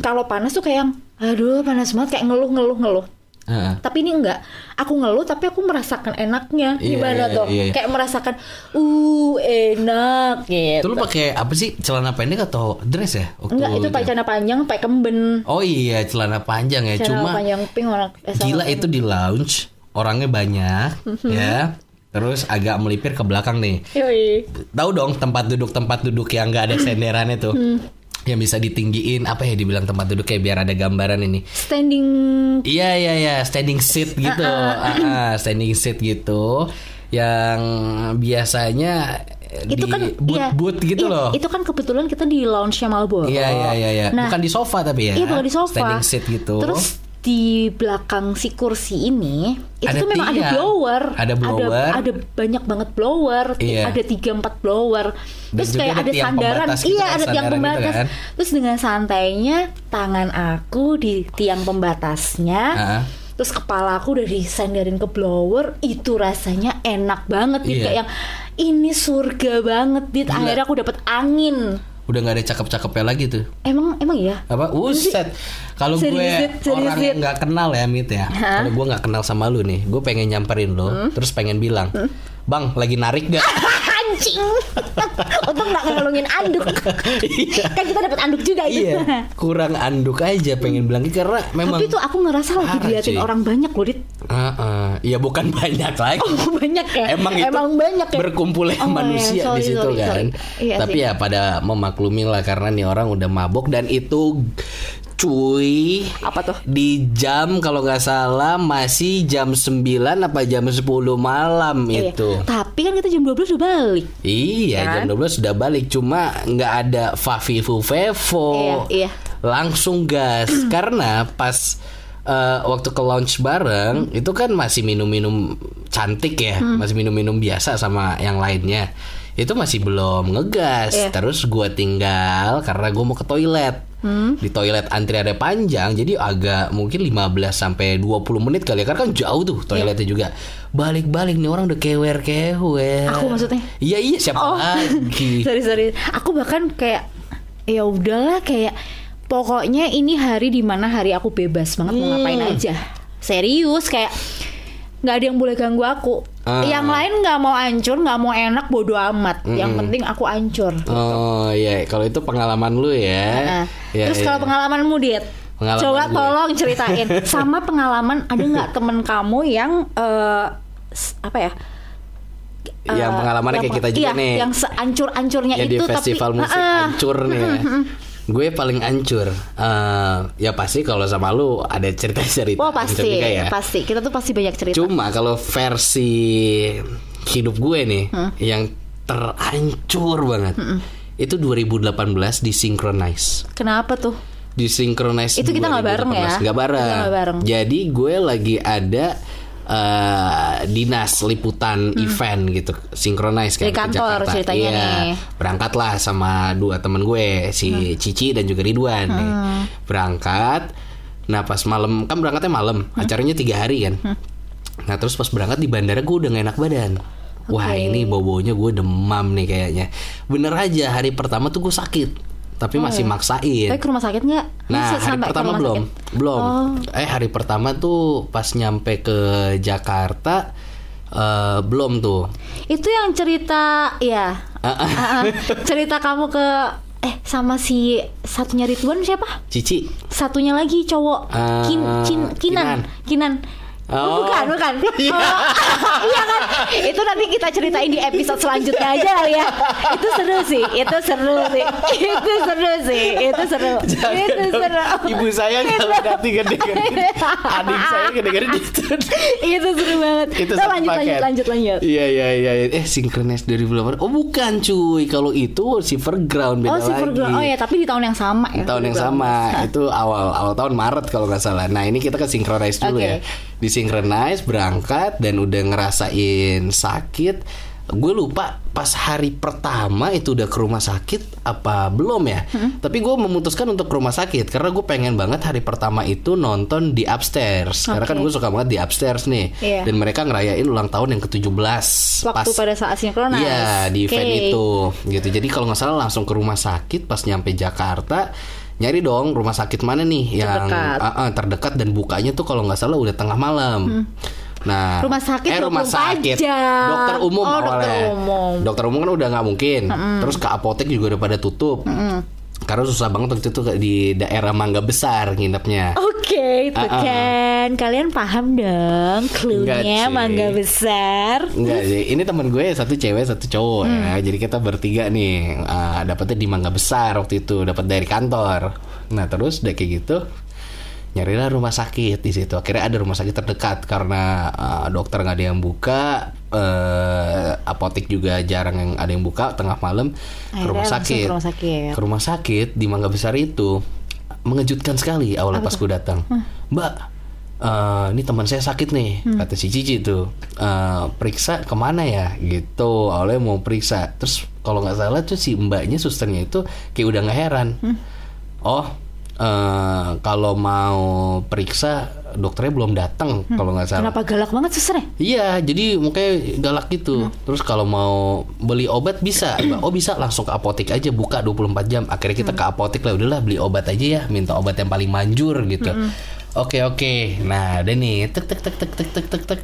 E: kalau panas tuh kayak yang aduh panas banget kayak ngeluh-ngeluh-ngeluh.
D: Heeh.
E: Tapi ini enggak, aku ngeluh tapi aku merasakan enaknya
D: Iya,
E: gimana
D: iya,
E: tuh?
D: iya, iya.
E: Kayak merasakan uh enak gitu.
D: Itu lu pakai apa sih? Celana pendek atau dress ya? Waktu
E: Enggak, itu
D: itu?
E: pakai celana panjang, pakai kemben.
D: Oh iya, celana panjang ya.
E: Celana
D: Cuma
E: panjang pink warna eh, sama- Mm-hmm.
D: Gila itu di lounge orangnya banyak ya. Terus agak melipir ke belakang nih.
E: Yoi.
D: Tahu dong tempat duduk tempat duduk yang nggak ada senderannya tuh.
E: Hmm.
D: yang bisa ditinggiin apa ya dibilang tempat duduk kayak biar ada gambaran ini.
E: Standing
D: Iya iya iya standing seat gitu. Ah, ah, standing seat gitu yang biasanya
E: itu
D: di
E: kan iya.
D: boot-boot
E: Iya,
D: gitu loh.
E: Itu kan kebetulan kita di lounge Malboro.
D: Iya iya iya iya.
E: Nah,
D: bukan di sofa tapi ya.
E: Iya, bukan di sofa.
D: Standing seat gitu.
E: Terus di belakang si kursi ini itu
D: Ada
E: tuh memang ada
D: tiang.
E: blower.
D: Ada blower.
E: Ada, banyak banget blower.
D: Iya.
E: Ada tiga empat blower.
D: Dan
E: Terus
D: juga
E: kayak
D: ada
E: ada
D: tiang
E: sandaran.
D: pembatas gitu
E: iya,
D: kan,
E: ada tiang
D: sandaran gitu
E: pembatas.
D: kan.
E: Terus dengan santainya tangan aku di tiang pembatasnya.
D: Ah.
E: Terus kepala aku udah disandarin ke blower Itu rasanya enak banget Dit
D: Iya.
E: Kayak yang ini surga banget Dit Akhirnya aku dapet angin
D: udah nggak ada cakep-cakepnya lagi tuh.
E: Emang emang iya?
D: apa uset kalau gue
E: Seriusit,
D: orang
E: seriusit.
D: yang nggak kenal ya mit ya kalau gue nggak kenal sama lu nih gue pengen nyamperin lo
E: Hmm?
D: terus pengen bilang bang lagi narik gak
E: Anjing Untung gak ngelungin anduk Kan kita dapet anduk juga itu
D: iya kurang anduk aja pengen bilang gitu karena memang
E: Tapi tuh aku ngerasa lagi
D: Parah,
E: diliatin
D: cuy.
E: orang banyak loh Dit
D: Ah, ah. ya bukan banyak lagi
E: Oh, banyak ya?
D: Emang itu
E: banyak ya?
D: berkumpulnya
E: Oh, iya,
D: manusia
E: sorry,
D: di situ
E: sorry,
D: kan.
E: sorry. Iya
D: Tapi
E: sih.
D: ya pada memaklumi lah karena nih orang udah mabok dan itu cuy
E: Apa tuh?
D: di jam kalau nggak salah masih jam 9 apa jam 10 malam
E: Iya.
D: itu.
E: Tapi kan kita jam 12 udah balik
D: Iya,
E: Kan?
D: jam 12 sudah balik cuma nggak ada Fafifu Fevo.
E: Iya, iya.
D: Langsung gas karena pas eh, waktu ke launch bareng itu kan masih minum-minum cantik ya,
E: Hmm.
D: masih minum-minum biasa sama yang lainnya. Itu masih belum ngegas.
E: Iya.
D: Terus gua tinggal karena gua mau ke toilet.
E: Hmm.
D: Di toilet antriannya panjang jadi agak mungkin 15 sampai 20 menit kali ya karena kan
E: Iya.
D: jauh tuh toiletnya juga. Balik-balik nih orang udah kewer-kewer.
E: Aku maksudnya? Oh.
D: Iya iya siapa lagi?
E: sorry sorry. Aku bahkan kayak ya udahlah kayak pokoknya ini hari dimana hari aku bebas banget mau
D: Hmm.
E: ngapain aja. Serius kayak nggak ada yang boleh ganggu aku.
D: Ah.
E: Yang lain nggak mau ancur, nggak mau enak, bodo amat. Yang
D: Hmm.
E: penting aku ancur.
D: Oh iya kalau itu pengalaman lu ya.
E: Nah,
D: Iya,
E: Terus
D: iya.
E: kalau pengalamanmu Dit
D: Pengalaman
E: Coba
D: gue.
E: tolong ceritain Sama pengalaman ada nggak temen kamu yang eh, s- Apa ya eh,
D: yang
E: yang
D: pengalamannya kayak kita
E: peng-
D: juga
E: iya,
D: nih.
E: Yang seancur-ancurnya
D: Ya,
E: itu
D: di festival
E: tapi,
D: musik
E: Ah, ah.
D: hancur nih. ya. Gue paling hancur. Eh, ya pasti kalau sama lu ada cerita-cerita.
E: Wah Oh,
D: hancur
E: pasti,
D: juga ya.
E: pasti. Kita tuh pasti banyak cerita.
D: Cuma kalau versi hidup gue nih yang terancur banget. Itu 2018 di Synchronize.
E: Kenapa tuh?
D: di Synchronize
E: Itu kita nggak bareng ya?
D: 2018. Nggak bareng.
E: Kita nggak bareng.
D: Jadi gue lagi ada eh, dinas liputan event gitu Synchronize kan
E: Hmm. Di kantor ceritanya
D: Iya.
E: nih. Hmm.
D: Berangkatlah sama dua temen gue Si Cici dan juga Ridwan nih. Berangkat Nah pas malam Kan
E: Hmm.
D: berangkatnya malam Acaranya tiga hari kan Nah terus pas berangkat di bandara gue udah gak enak badan wah
E: Oke.
D: ini bobonya gue demam nih kayaknya bener aja hari pertama tuh gue sakit tapi masih
E: Oh.
D: maksain
E: Tapi ke rumah sakit nggak?
D: Iya. Nah,
E: Bisa
D: hari
E: sampai ke
D: pertama
E: rumah
D: belum.
E: sakit?
D: Belum.
E: Oh.
D: Eh, hari pertama tuh pas nyampe ke Jakarta eh belum tuh.
E: Itu yang cerita ya. Ah, ah. cerita kamu ke eh sama si satunya Ridwan siapa?
D: Cici.
E: Satunya lagi cowok
D: Ah,
E: Kin, Kin- Kinan, Kinan.
D: Oh.
E: Oh, bukan, bukan. Oh, iya kan? Itu nanti kita ceritain di episode selanjutnya aja kali ya. Itu seru sih, itu seru sih. Itu seru sih, itu seru. itu seru.
D: Ibu saya kalau nanti gede-gede. Adik saya gede-gede gitu.
E: itu seru banget.
D: Itu
E: Nah,
D: satu
E: lanjut, lanjut,
D: paket.
E: lanjut, lanjut.
D: Iya, iya, iya. iya. Eh, synchronize dari bulan Oh, bukan cuy. Kalau itu Silverground beda
E: Oh, Silver
D: lagi.
E: Glow. Oh ya, tapi di tahun yang sama ya.
D: tahun yang
E: Silver Glow.
D: sama itu awal awal tahun Maret kalau nggak salah. Nah ini kita ke sinkronize dulu ya.
E: Oke.
D: Di sinkronize berangkat dan udah ngerasain sakit. Gue lupa pas hari pertama itu udah ke rumah sakit apa belum ya.
E: Hmm.
D: Tapi gue memutuskan untuk ke rumah sakit karena gue pengen banget hari pertama itu nonton di upstairs. Karena kan
E: Oke.
D: gue suka banget di upstairs nih.
E: Iya.
D: Dan mereka ngerayain ulang tahun yang ke-17
E: Waktu pada saat sinkronis.
D: Iya di event
E: Oke.
D: itu gitu. Jadi kalau nggak salah langsung ke rumah sakit pas nyampe Jakarta nyari dong rumah sakit mana nih yang
E: Terdekat.
D: Ah, ah, terdekat dan bukanya tuh kalau nggak salah udah tengah malam. Nah,
E: Hmm. Rumah sakit
D: eh, rumah
E: 24
D: sakit,
E: jam.
D: dokter umum
E: Oh,
D: awalnya.
E: dokter umum. Hmm.
D: Dokter umum kan udah nggak mungkin. Terus ke apotek juga udah pada tutup. Karena susah banget waktu itu di daerah Mangga Besar nginepnya.
E: Oke, itu
D: Ah, ah.
E: kan kalian paham dong
D: Enggak,
E: clue-nya
D: cuy.
E: mangga besar.
D: Enggak sih, ini temen gue satu cewek satu cowok ya.
E: Hmm.
D: Jadi kita bertiga nih. Ah, dapetnya di Mangga Besar waktu itu, dapat dari kantor. Nah, terus udah kayak gitu nyarilah rumah sakit di situ. Akhirnya ada rumah sakit terdekat karena ah, dokter nggak ada yang buka, eh, apotek juga jarang yang ada yang buka tengah malam ke
E: Akhirnya
D: rumah
E: langsung
D: sakit.
E: ke rumah sakit.
D: Ke rumah sakit di Mangga Besar itu mengejutkan sekali awalnya pas gue datang. Mbak, eh, ini teman saya sakit nih, kata si Cici tuh. Eh, periksa kemana ya? Gitu. Awalnya mau periksa. Terus kalau nggak salah tuh si mbaknya susternya itu kayak udah nggak heran. Oh, eh, kalau mau periksa dokternya belum datang kalau nggak salah.
E: Kenapa galak banget suster ya?
D: Iya, jadi mukanya galak gitu. Terus kalau mau beli obat bisa, Mbak. Oh, bisa langsung ke apotek aja buka 24 jam. Akhirnya kita ke apotek lah udahlah beli obat aja ya, minta obat yang paling manjur gitu. Oke, oke. Nah, ada nih tek tek tek tek tek tek tek tek.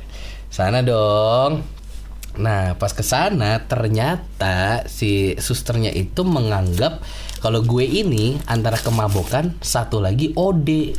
D: Sana dong. Nah, pas ke sana ternyata si susternya itu menganggap kalau gue ini antara kemabukan satu lagi OD.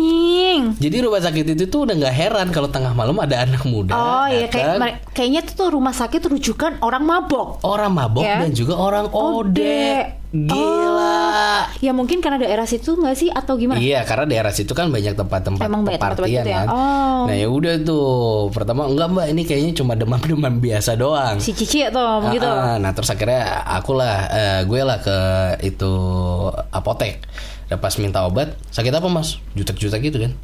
E: Anjing.
D: Jadi rumah sakit itu tuh udah nggak heran kalau tengah malam ada anak muda.
E: Oh iya kayak
D: datang,
E: mere- kayaknya itu tuh rumah sakit rujukan orang mabok.
D: orang mabok
E: Ya.
D: dan juga orang ode.
E: Ode.
D: Gila.
E: Ya mungkin karena daerah situ nggak sih atau gimana?
D: Iya, karena daerah situ kan banyak tempat-tempat
E: Emang banyak tempat-tempat
D: partian
E: gitu ya?
D: kan.
E: Oh.
D: Nah, ya udah tuh. Pertama enggak, Mbak, ini kayaknya cuma demam-demam biasa doang.
E: Si Cici ya tuh ngomong gitu.
D: Ah, ah. Nah terus akhirnya aku lah, eh, gue lah ke itu apotek. Dan pas minta obat, sakit apa mas? Jutek-jutek gitu kan.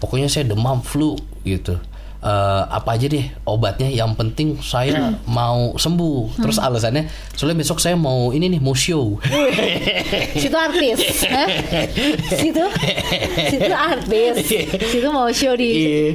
D: Pokoknya saya demam flu gitu. Eh, apa aja deh obatnya yang penting
E: Hmm.
D: saya mau sembuh terus alasannya soalnya besok saya mau ini nih mau show
E: Situ artis. Hah? Situ situ artis. Situ mau show
D: Iya.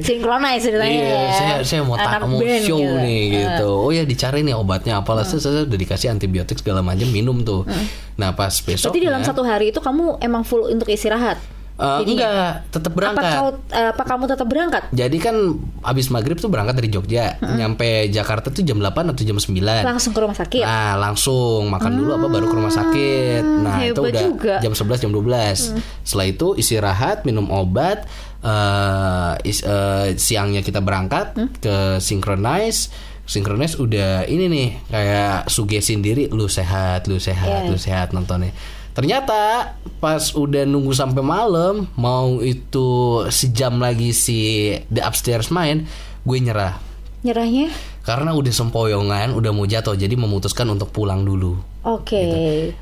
E: di sinkronize ceritanya.
D: Iya,
E: ya.
D: saya saya mau
E: Anak
D: tak mau
E: band
D: show
E: gitu.
D: nih
E: Eh. Hmm.
D: gitu. Oh ya dicari nih obatnya apalah saya, saya udah dikasih antibiotik segala macam minum tuh. Nah pas besok.
E: Berarti dalam satu hari itu kamu emang full untuk istirahat? Jadi
D: eh, enggak tetap berangkat.
E: Apa, kau, eh, apa kamu tetap berangkat?
D: Jadi kan abis maghrib tuh berangkat dari Jogja, nyampe Jakarta tuh jam 8 atau jam 9
E: Langsung ke rumah sakit? Ah,
D: Nah langsung makan dulu apa baru ke rumah sakit. Nah itu
E: hebat
D: udah
E: juga. Hmm.
D: jam 11 jam 12 Setelah itu istirahat minum obat. eh, is- eh, siangnya kita berangkat
E: Hmm?
D: ke synchronize. Synchronize udah ini nih kayak sugesin diri lu sehat, lu
E: Iya.
D: sehat, lu sehat nontonnya. Ternyata pas udah nunggu sampai malam mau itu sejam lagi si The Upstairs main, gue nyerah
E: Nyerahnya?
D: karena udah sempoyongan udah mau jatuh jadi memutuskan untuk pulang dulu
E: Oke.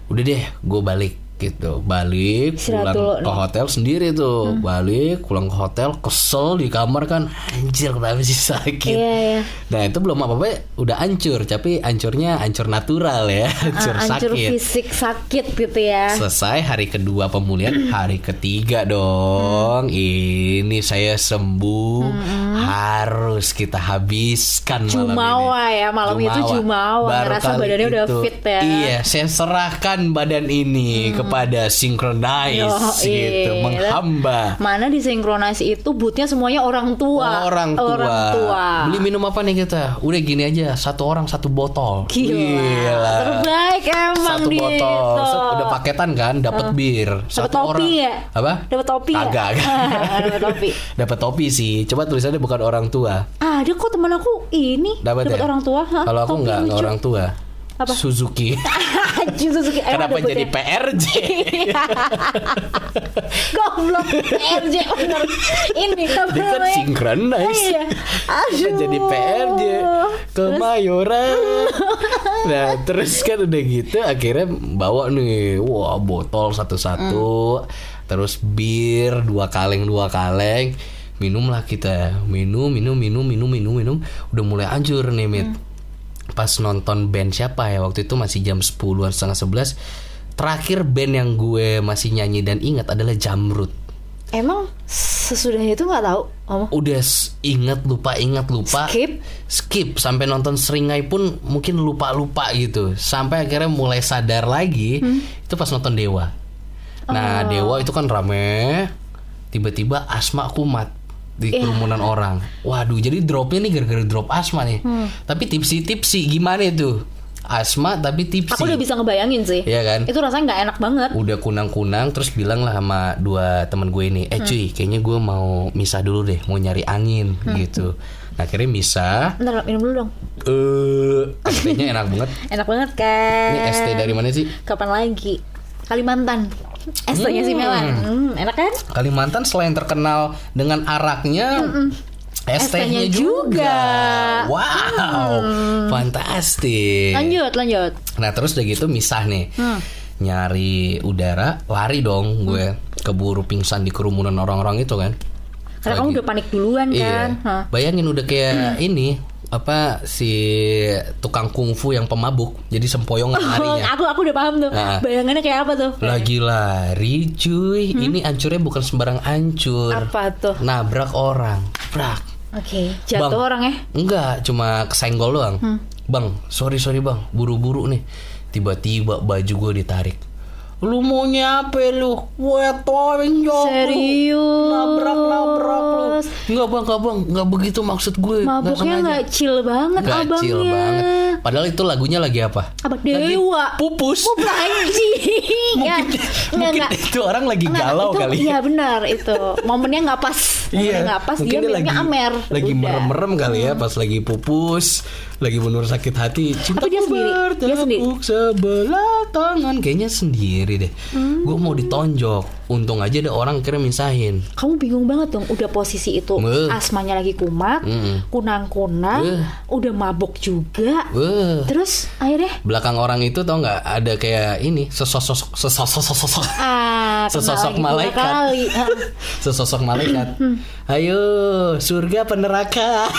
D: udah deh gue balik gitu balik
E: Istirahat
D: pulang
E: dulu Hmm.
D: ke
E: nih.
D: hotel sendiri tuh balik pulang ke hotel kesel di kamar kan anjir kenapa sih sakit
E: Iya, iya.
D: nah itu belum apa apa udah hancur tapi hancurnya hancur natural ya hancur
E: Ah, hancur
D: sakit
E: fisik sakit gitu ya.
D: Selesai hari
E: Hmm.
D: kedua
E: Hmm.
D: pemulihan, hari ketiga dong. Ini saya sembuh. harus kita habiskan
E: Jumawa
D: malam ini.
E: ya, malam itu Jumawa. Ngerasa
D: kali
E: badannya udah fit ya. Hmm.
D: Iya, saya serahkan badan ini kepada Synchronize
E: Yoi.
D: gitu, menghamba. Oh,
E: Mana di sinkronasi itu bootnya semuanya orang tua.
D: Orang tua.
E: Orang tua.
D: Beli minum apa nih kita? Udah gini aja, satu orang satu botol.
E: Gila. Terbaik emang gitu.
D: satu
E: di
D: botol
E: itu.
D: Set, udah paketan kan dapat bir
E: Dapat
D: satu orang
E: topi ya?
D: apa
E: Dapat topi ya?
D: Kagak, kagak.
E: Dapat topi.
D: dapat topi sih coba tulisannya bukan orang tua
E: Ada kok teman aku ini
D: dapat
E: dapat
D: ya?
E: orang tua. Hah,
D: kalau aku
E: topi
D: nggak nggak
E: lucu.
D: orang tua
E: Apa? ya?
D: Suzuki
E: Anjing, Suzuki. Emang
D: kenapa
E: ada
D: jadi
E: bootnya?
D: PRJ
E: Goblok RJ bener. Ini ya.
D: dia kan
E: namanya.
D: synchronized
E: Iya. Aduh.
D: Kan jadi PRJ Kemayoran Nah terus kan udah gitu Akhirnya bawa nih Wah botol satu-satu
E: Hmm.
D: Terus bir Dua kaleng Dua kaleng Minumlah kita Minum Minum Minum Minum Minum Minum Udah mulai anjur nih Mit
E: Hmm.
D: Pas nonton band siapa ya Waktu itu masih jam 10-an setengah 11 Terakhir band yang gue masih nyanyi dan ingat adalah Jamrut
E: Emang sesudahnya itu nggak tahu. Ngomong.
D: udah s- ingat lupa ingat lupa
E: Skip?
D: skip sampai nonton seringai pun mungkin lupa lupa gitu sampai akhirnya mulai sadar lagi
E: Hmm.
D: itu pas nonton dewa nah
E: Oh.
D: dewa itu kan rame tiba-tiba asma kumat di
E: Iya.
D: kerumunan orang waduh jadi dropnya nih gara-gara drop asma nih
E: Hmm.
D: tapi tipsi tipsi gimana itu asma tapi tipsi
E: Aku udah bisa ngebayangin sih.
D: Iya kan?
E: Itu rasanya nggak enak banget.
D: udah kunang-kunang terus bilang lah sama dua temen gue ini
E: Hmm.
D: eh cuy kayaknya gue mau misah dulu deh mau nyari angin
E: Hmm.
D: gitu nah, akhirnya misah
E: Ntar minum dulu dong.
D: eh ST-nya enak banget
E: Enak banget kan?
D: ini ST dari mana sih
E: Kapan lagi? Kalimantan. ST-nya si Melan. Hmm, enak kan?
D: Kalimantan selain terkenal dengan araknya ST-nya
E: ST-nya
D: juga.
E: juga. Hmm.
D: Wow, fantastis.
E: Lanjut, Hmm. lanjut.
D: Nah terus udah gitu misah nih Nyari udara Lari dong gue
E: Hmm.
D: Keburu pingsan di kerumunan orang-orang itu kan
E: Karena kamu
D: Lagi-
E: udah panik duluan
D: Iya
E: kan? Hmm. Hah.
D: Bayangin udah kayak ini Apa si tukang kungfu yang pemabuk Jadi sempoyongan
E: Oh,
D: larinya
E: aku aku udah paham tuh.
D: Ah.
E: Bayangannya kayak apa tuh?
D: Lagi lari cuy Ini ancurnya bukan sembarang ancur
E: Hmm. Apa tuh?
D: Nabrak orang Brak
E: Oke, jatuh
D: Bang.
E: orang ya.
D: Enggak, cuma kesenggol doang.
E: Hmm.
D: Bang, sorry sorry bang, buru-buru nih. Tiba-tiba baju gue ditarik. Lu mau nyampe lu? Wetoin jauh.
E: Serius?
D: Oh, Nabrak nabrak lu. Enggak bang, enggak bang, enggak begitu maksud gue. Nggak
E: Mabuknya
D: sengaja.
E: nggak chill banget
D: Nggak
E: abangnya.
D: chill banget. Padahal itu lagunya lagi apa?
E: Apa dewa?
D: Pupus.
E: Oh, anjing. Ya, nggak,
D: Mungkin
E: nggak.
D: itu orang lagi
E: Nggak,
D: galau
E: itu-
D: kali. ya. Iya,
E: Iya benar itu. Momennya nggak pas. Momennya nggak pas.
D: mungkin
E: dia bilangnya amer.
D: lagi
E: Udah. Hmm.
D: merem-merem kali ya pas lagi pupus, lagi menurut sakit hati. Cinta
E: Tapi dia sendiri, dia sendiri.
D: sebelah tangan kayaknya sendiri deh.
E: Hmm.
D: Gue mau ditonjok. Untung aja ada orang kira misahin.
E: Kamu bingung banget dong. Udah posisi itu
D: Beuh.
E: asmanya lagi kumat,
D: Mm-mm.
E: kunang-kunang,
D: Beuh.
E: udah mabok juga.
D: Wah.
E: Terus akhirnya
D: Belakang orang itu tau nggak ada kayak ini sesosok sesosok sesosok
E: ah kena
D: Sesosok
E: lagi dua
D: malaikat.
E: kali. Ah.
D: sesosok malaikat. Ayo surga peneraka.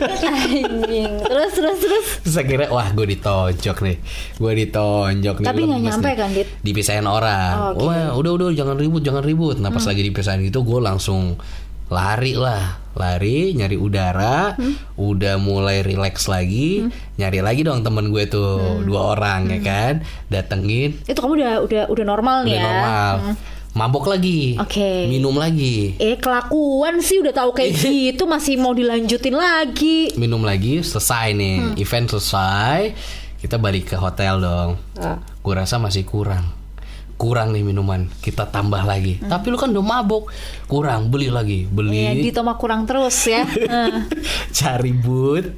E: Anjing. Terus terus terus.
D: Terus akhirnya wah gue ditonjok nih Gue ditonjok nih
E: Tapi nggak
D: lemes
E: nyampe
D: nih.
E: kan, Dit?
D: Dipisahin orang
E: Oke. Hmm.
D: Wah udah udah jangan ribut jangan ribut Nah pas lagi dipisahin gitu gue langsung lari lah Lari nyari udara
E: Hmm.
D: Udah mulai relax lagi Nyari lagi dong temen gue tuh
E: Hmm.
D: Dua orang ya kan Datengin
E: Itu kamu udah udah udah normal
D: Udah
E: nih ya.
D: normal Mabok lagi
E: Oke.
D: Minum lagi
E: Eh kelakuan sih udah tahu kayak gitu masih mau dilanjutin lagi.
D: minum lagi selesai nih event selesai kita balik ke hotel dong gue rasa masih kurang kurang nih minuman kita tambah lagi tapi lu kan udah mabok kurang beli lagi
E: Ya,
D: beli
E: di mah kurang terus ya. Ah.
D: cari but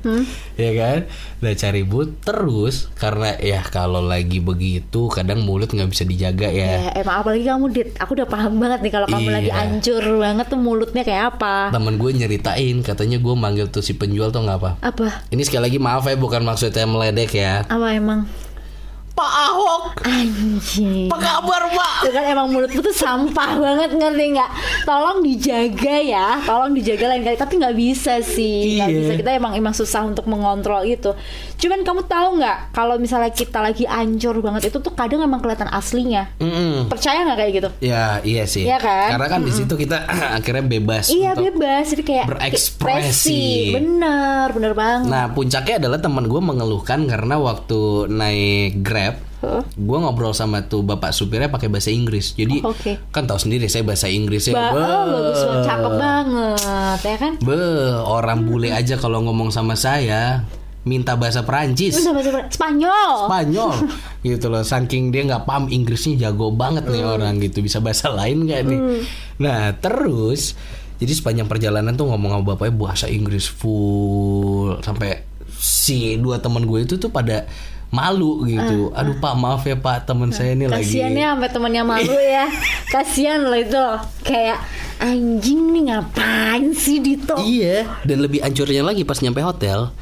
D: ya kan udah cari but terus karena ya kalau lagi begitu kadang mulut nggak bisa dijaga
E: Ya,
D: ya
E: emang apalagi kamu dit, aku udah paham banget nih kalau kamu
D: Iya.
E: lagi hancur banget tuh mulutnya kayak apa?
D: temen gue nyeritain katanya gue manggil tuh si penjual tuh nggak apa
E: Apa?
D: ini sekali lagi maaf ya bukan maksudnya meledek ya
E: Apa emang?
D: Pak Ahok
E: Anjing.
D: apa kabar Pak
E: Itu kan emang mulutmu tuh sampah banget ngerti nggak? Tolong dijaga ya, tolong dijaga lain kali. Tapi nggak bisa sih, nggak
D: Iya.
E: bisa. Kita emang emang susah untuk mengontrol itu. Cuman kamu tahu nggak kalau misalnya kita lagi ancur banget itu tuh kadang emang kelihatan aslinya.
D: Mm-mm.
E: Percaya nggak kayak gitu?
D: Ya iya sih.
E: Iya kan?
D: Karena kan di situ kita akhirnya bebas.
E: Iya
D: untuk-
E: bebas, jadi kayak
D: berekspresi.
E: Bener, bener banget.
D: Nah puncaknya adalah teman gue mengeluhkan karena waktu naik grab,
E: Heeh.
D: gue ngobrol sama tuh bapak supirnya pakai bahasa Inggris. Jadi
E: Oh, oke.
D: kan tahu sendiri saya bahasa Inggrisnya.
E: Ba-
D: Be-
E: oh, bagus banget, cakep banget, ya kan?
D: Be, orang bule aja kalau ngomong sama saya minta bahasa Perancis.
E: Bisa bahasa Spanyol. Oh.
D: Spanyol gitu loh saking dia nggak paham Inggrisnya jago banget nih orang gitu bisa bahasa lain nggak nih nah terus jadi sepanjang perjalanan tuh ngomong sama bapaknya bahasa Inggris full sampai si dua teman gue itu tuh pada malu gitu aduh pak maaf ya pak teman saya ini lagi
E: Kasian ya sampai temennya malu ya. Kasian loh itu loh. Kayak anjing nih ngapain sih Dito?
D: Iya, dan lebih ancurnya lagi pas nyampe hotel.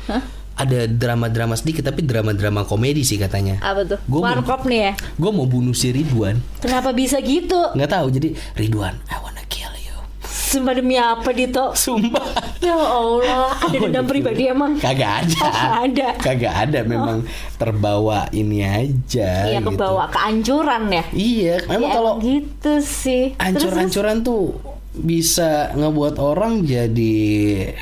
D: Ada drama-drama sedikit tapi drama-drama komedi sih katanya.
E: Apa tuh?
D: Gua mau-
E: Warkop nih ya.
D: Gue mau bunuh si Ridwan.
E: Kenapa bisa gitu?
D: Nggak tahu jadi Ridwan, I wanna kill you.
E: Sumpah demi apa Dito?
D: Sumpah.
E: Ya Allah, ada dendam
D: Waduh.
E: pribadi emang.
D: Oh, iya. Kagak ada.
E: Kagak ada. Oh.
D: Kagak ada memang terbawa ini aja
E: Iya
D: gitu.
E: kebawa kehancuran ya.
D: Iya, memang
E: Ya,
D: kalau
E: gitu sih. Terus-
D: ancur-ancuran tuh bisa ngebuat orang jadi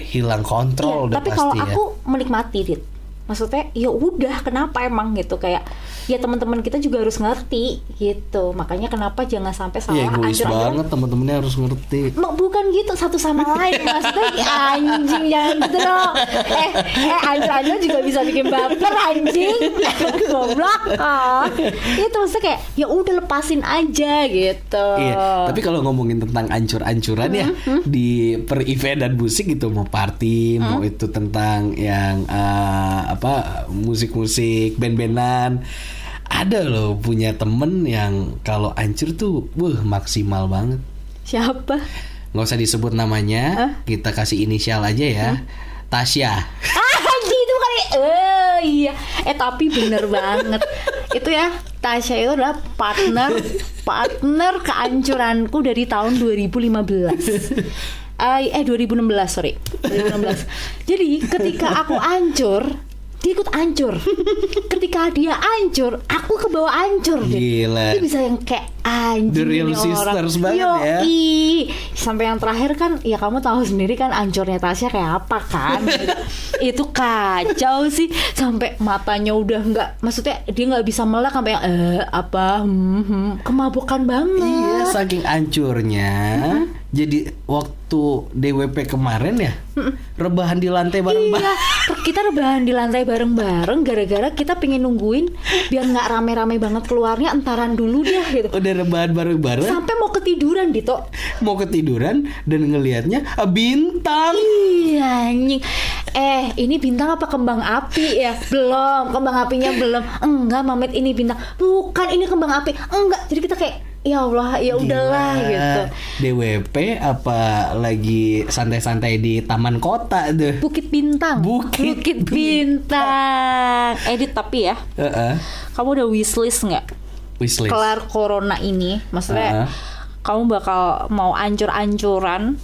D: hilang kontrol
E: Iya,
D: udah
E: tapi
D: pasti
E: kalau
D: ya.
E: aku menikmati dit maksudnya ya udah kenapa emang gitu kayak ya teman-teman kita juga harus ngerti gitu makanya kenapa jangan sampai salah
D: Iya, egois
E: anjur-anjuran.
D: banget teman-temannya harus ngerti.
E: Mak, bukan gitu satu sama lain maksudnya "Ya, anjing jangan gitu dong eh eh anjir juga bisa bikin baper anjing goblok oh. itu maksudnya kayak ya udah lepasin aja gitu
D: Iya, tapi kalau ngomongin tentang ancur-ancuran ya di per event dan musik gitu mau party, mau itu tentang yang eh, apa musik-musik band-bandan. Ada loh punya temen yang kalau ancur tuh wah maksimal banget.
E: siapa
D: Nggak usah disebut namanya, kita kasih inisial aja ya. Tasya.
E: ah anjing itu bukan eh iya eh tapi bener banget itu ya Tasya itu adalah partner partner kehancuranku dari tahun 2015 Eh, eh 2016 sorry 2016 jadi ketika aku hancur dia ikut hancur ketika dia hancur aku kebawa hancur Dit.
D: Gila.
E: Dia bisa yang kayak anjing
D: The real
E: ini orang.
D: sisters banget ya.
E: Yoi. sampai yang terakhir kan ya kamu tahu sendiri kan ancurnya Tasya kayak apa kan itu kacau sih sampai matanya udah nggak maksudnya dia nggak bisa melek sampai yang eh apa hmm, hmm." kemabukan
D: Iya,
E: banget
D: saking ancurnya. Jadi waktu DWP kemarin ya, rebahan di lantai bareng-bareng.
E: Iya, kita rebahan di lantai bareng-bareng gara-gara kita pengen nungguin biar nggak rame-rame banget keluarnya entaran dulu deh gitu.
D: Udah rebahan bareng-bareng.
E: Sampai mau ketiduran Dito.
D: mau ketiduran dan ngelihatnya ah, bintang.
E: Iya anjing. Eh, ini bintang apa kembang api ya? Belum, kembang apinya belum. Enggak, Mamet ini bintang. Bukan ini kembang api. Enggak. Jadi kita kayak ya Allah, ya udahlah
D: Gila.
E: gitu.
D: DWP apa lagi santai-santai di taman kota tuh.
E: Bukit Bintang.
D: Bukit
E: Bintang. Edit tapi ya.
D: Heeh.
E: Kamu udah wishlist nggak?
D: Eh, Wishlist.
E: Kelar corona ini, maksudnya
D: Ah.
E: kamu bakal mau ancur-ancuran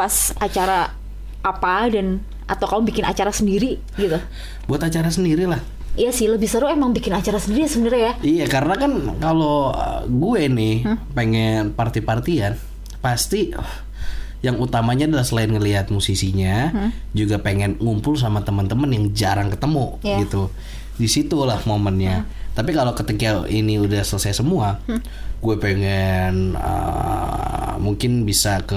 E: pas acara apa dan atau kamu bikin acara sendiri gitu.
D: Buat acara sendiri lah.
E: Iya sih lebih seru emang bikin acara sendiri ya sebenarnya ya.
D: Iya karena kan kalau uh, gue nih pengen party-partian pasti uh, yang utamanya adalah selain ngelihat musisinya juga pengen ngumpul sama teman-teman yang jarang ketemu
E: Iya.
D: gitu. Di situlah momennya. Tapi kalau ketika ini udah selesai semua, gue pengen uh, mungkin bisa ke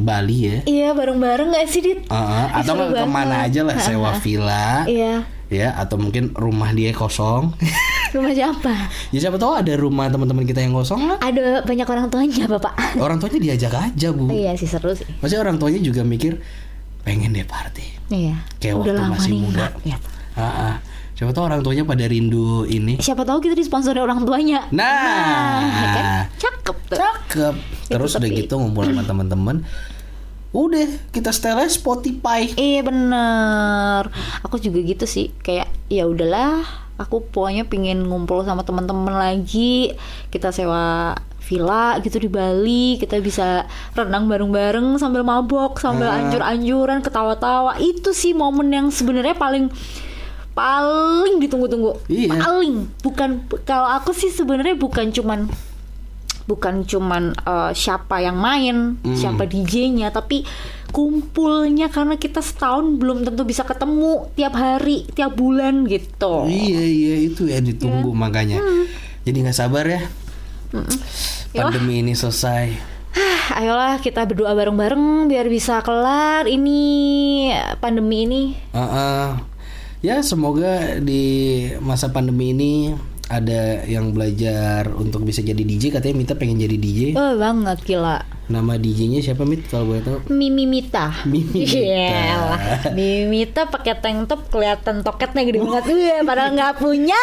D: Bali ya.
E: Iya bareng-bareng gak sih Dit?
D: Uh-uh,
E: Ih,
D: atau
E: seru
D: nggak kemana
E: banget.
D: aja lah sewa villa
E: Iya
D: ya atau mungkin rumah dia kosong
E: rumah siapa?
D: ya siapa tahu ada rumah teman-teman kita yang kosong lah
E: Ada banyak orang tuanya bapak.
D: orang tuanya diajak aja bu
E: Oh, iya sih seru sih.
D: pasti orang tuanya juga mikir pengen deh party
E: Iya.
D: kayak waktu masih
E: nih Iya.
D: muda
E: nggak lihat.
D: Ah, ah. siapa tahu orang tuanya pada rindu ini
E: Siapa tahu kita disponsori orang tuanya.
D: Nah.
E: ya kan? cakep tuh.
D: cakep
E: Itu
D: terus udah
E: tapi-
D: gitu ngumpul sama teman-teman udah kita setelnya Spotify
E: Iya bener. Aku juga gitu sih. Kayak ya udahlah. Aku pokoknya pingin ngumpul sama teman-teman lagi. Kita sewa villa gitu di Bali. Kita bisa renang bareng-bareng sambil mabok, sambil anjur-anjuran, ketawa-tawa. Itu sih momen yang sebenarnya paling paling ditunggu-tunggu
D: Iya.
E: paling bukan kalau aku sih sebenarnya bukan cuman bukan cuman eh, siapa yang main
D: Hmm.
E: siapa DJ-nya tapi kumpulnya karena kita setahun belum tentu bisa ketemu tiap hari tiap bulan gitu
D: Iya iya itu ya ditunggu
E: Iya.
D: makanya.
E: Hmm.
D: Jadi nggak sabar ya.
E: Ya
D: Pandemi ini selesai.
E: Ah, ayolah kita berdoa bareng-bareng biar bisa kelar ini pandemi ini
D: Heeh. Ya semoga di masa pandemi ini ada yang belajar untuk bisa jadi DJ katanya Mita pengen jadi DJ.
E: oh banget gila
D: Nama DJ-nya siapa Mit kalau boleh tahu?
E: Mimimita.
D: Mimimita.
E: Iyalah. Mimimita pakai tank top kelihatan toketnya gede Iya,
D: Iya.
E: banget. Wih, padahal nggak punya.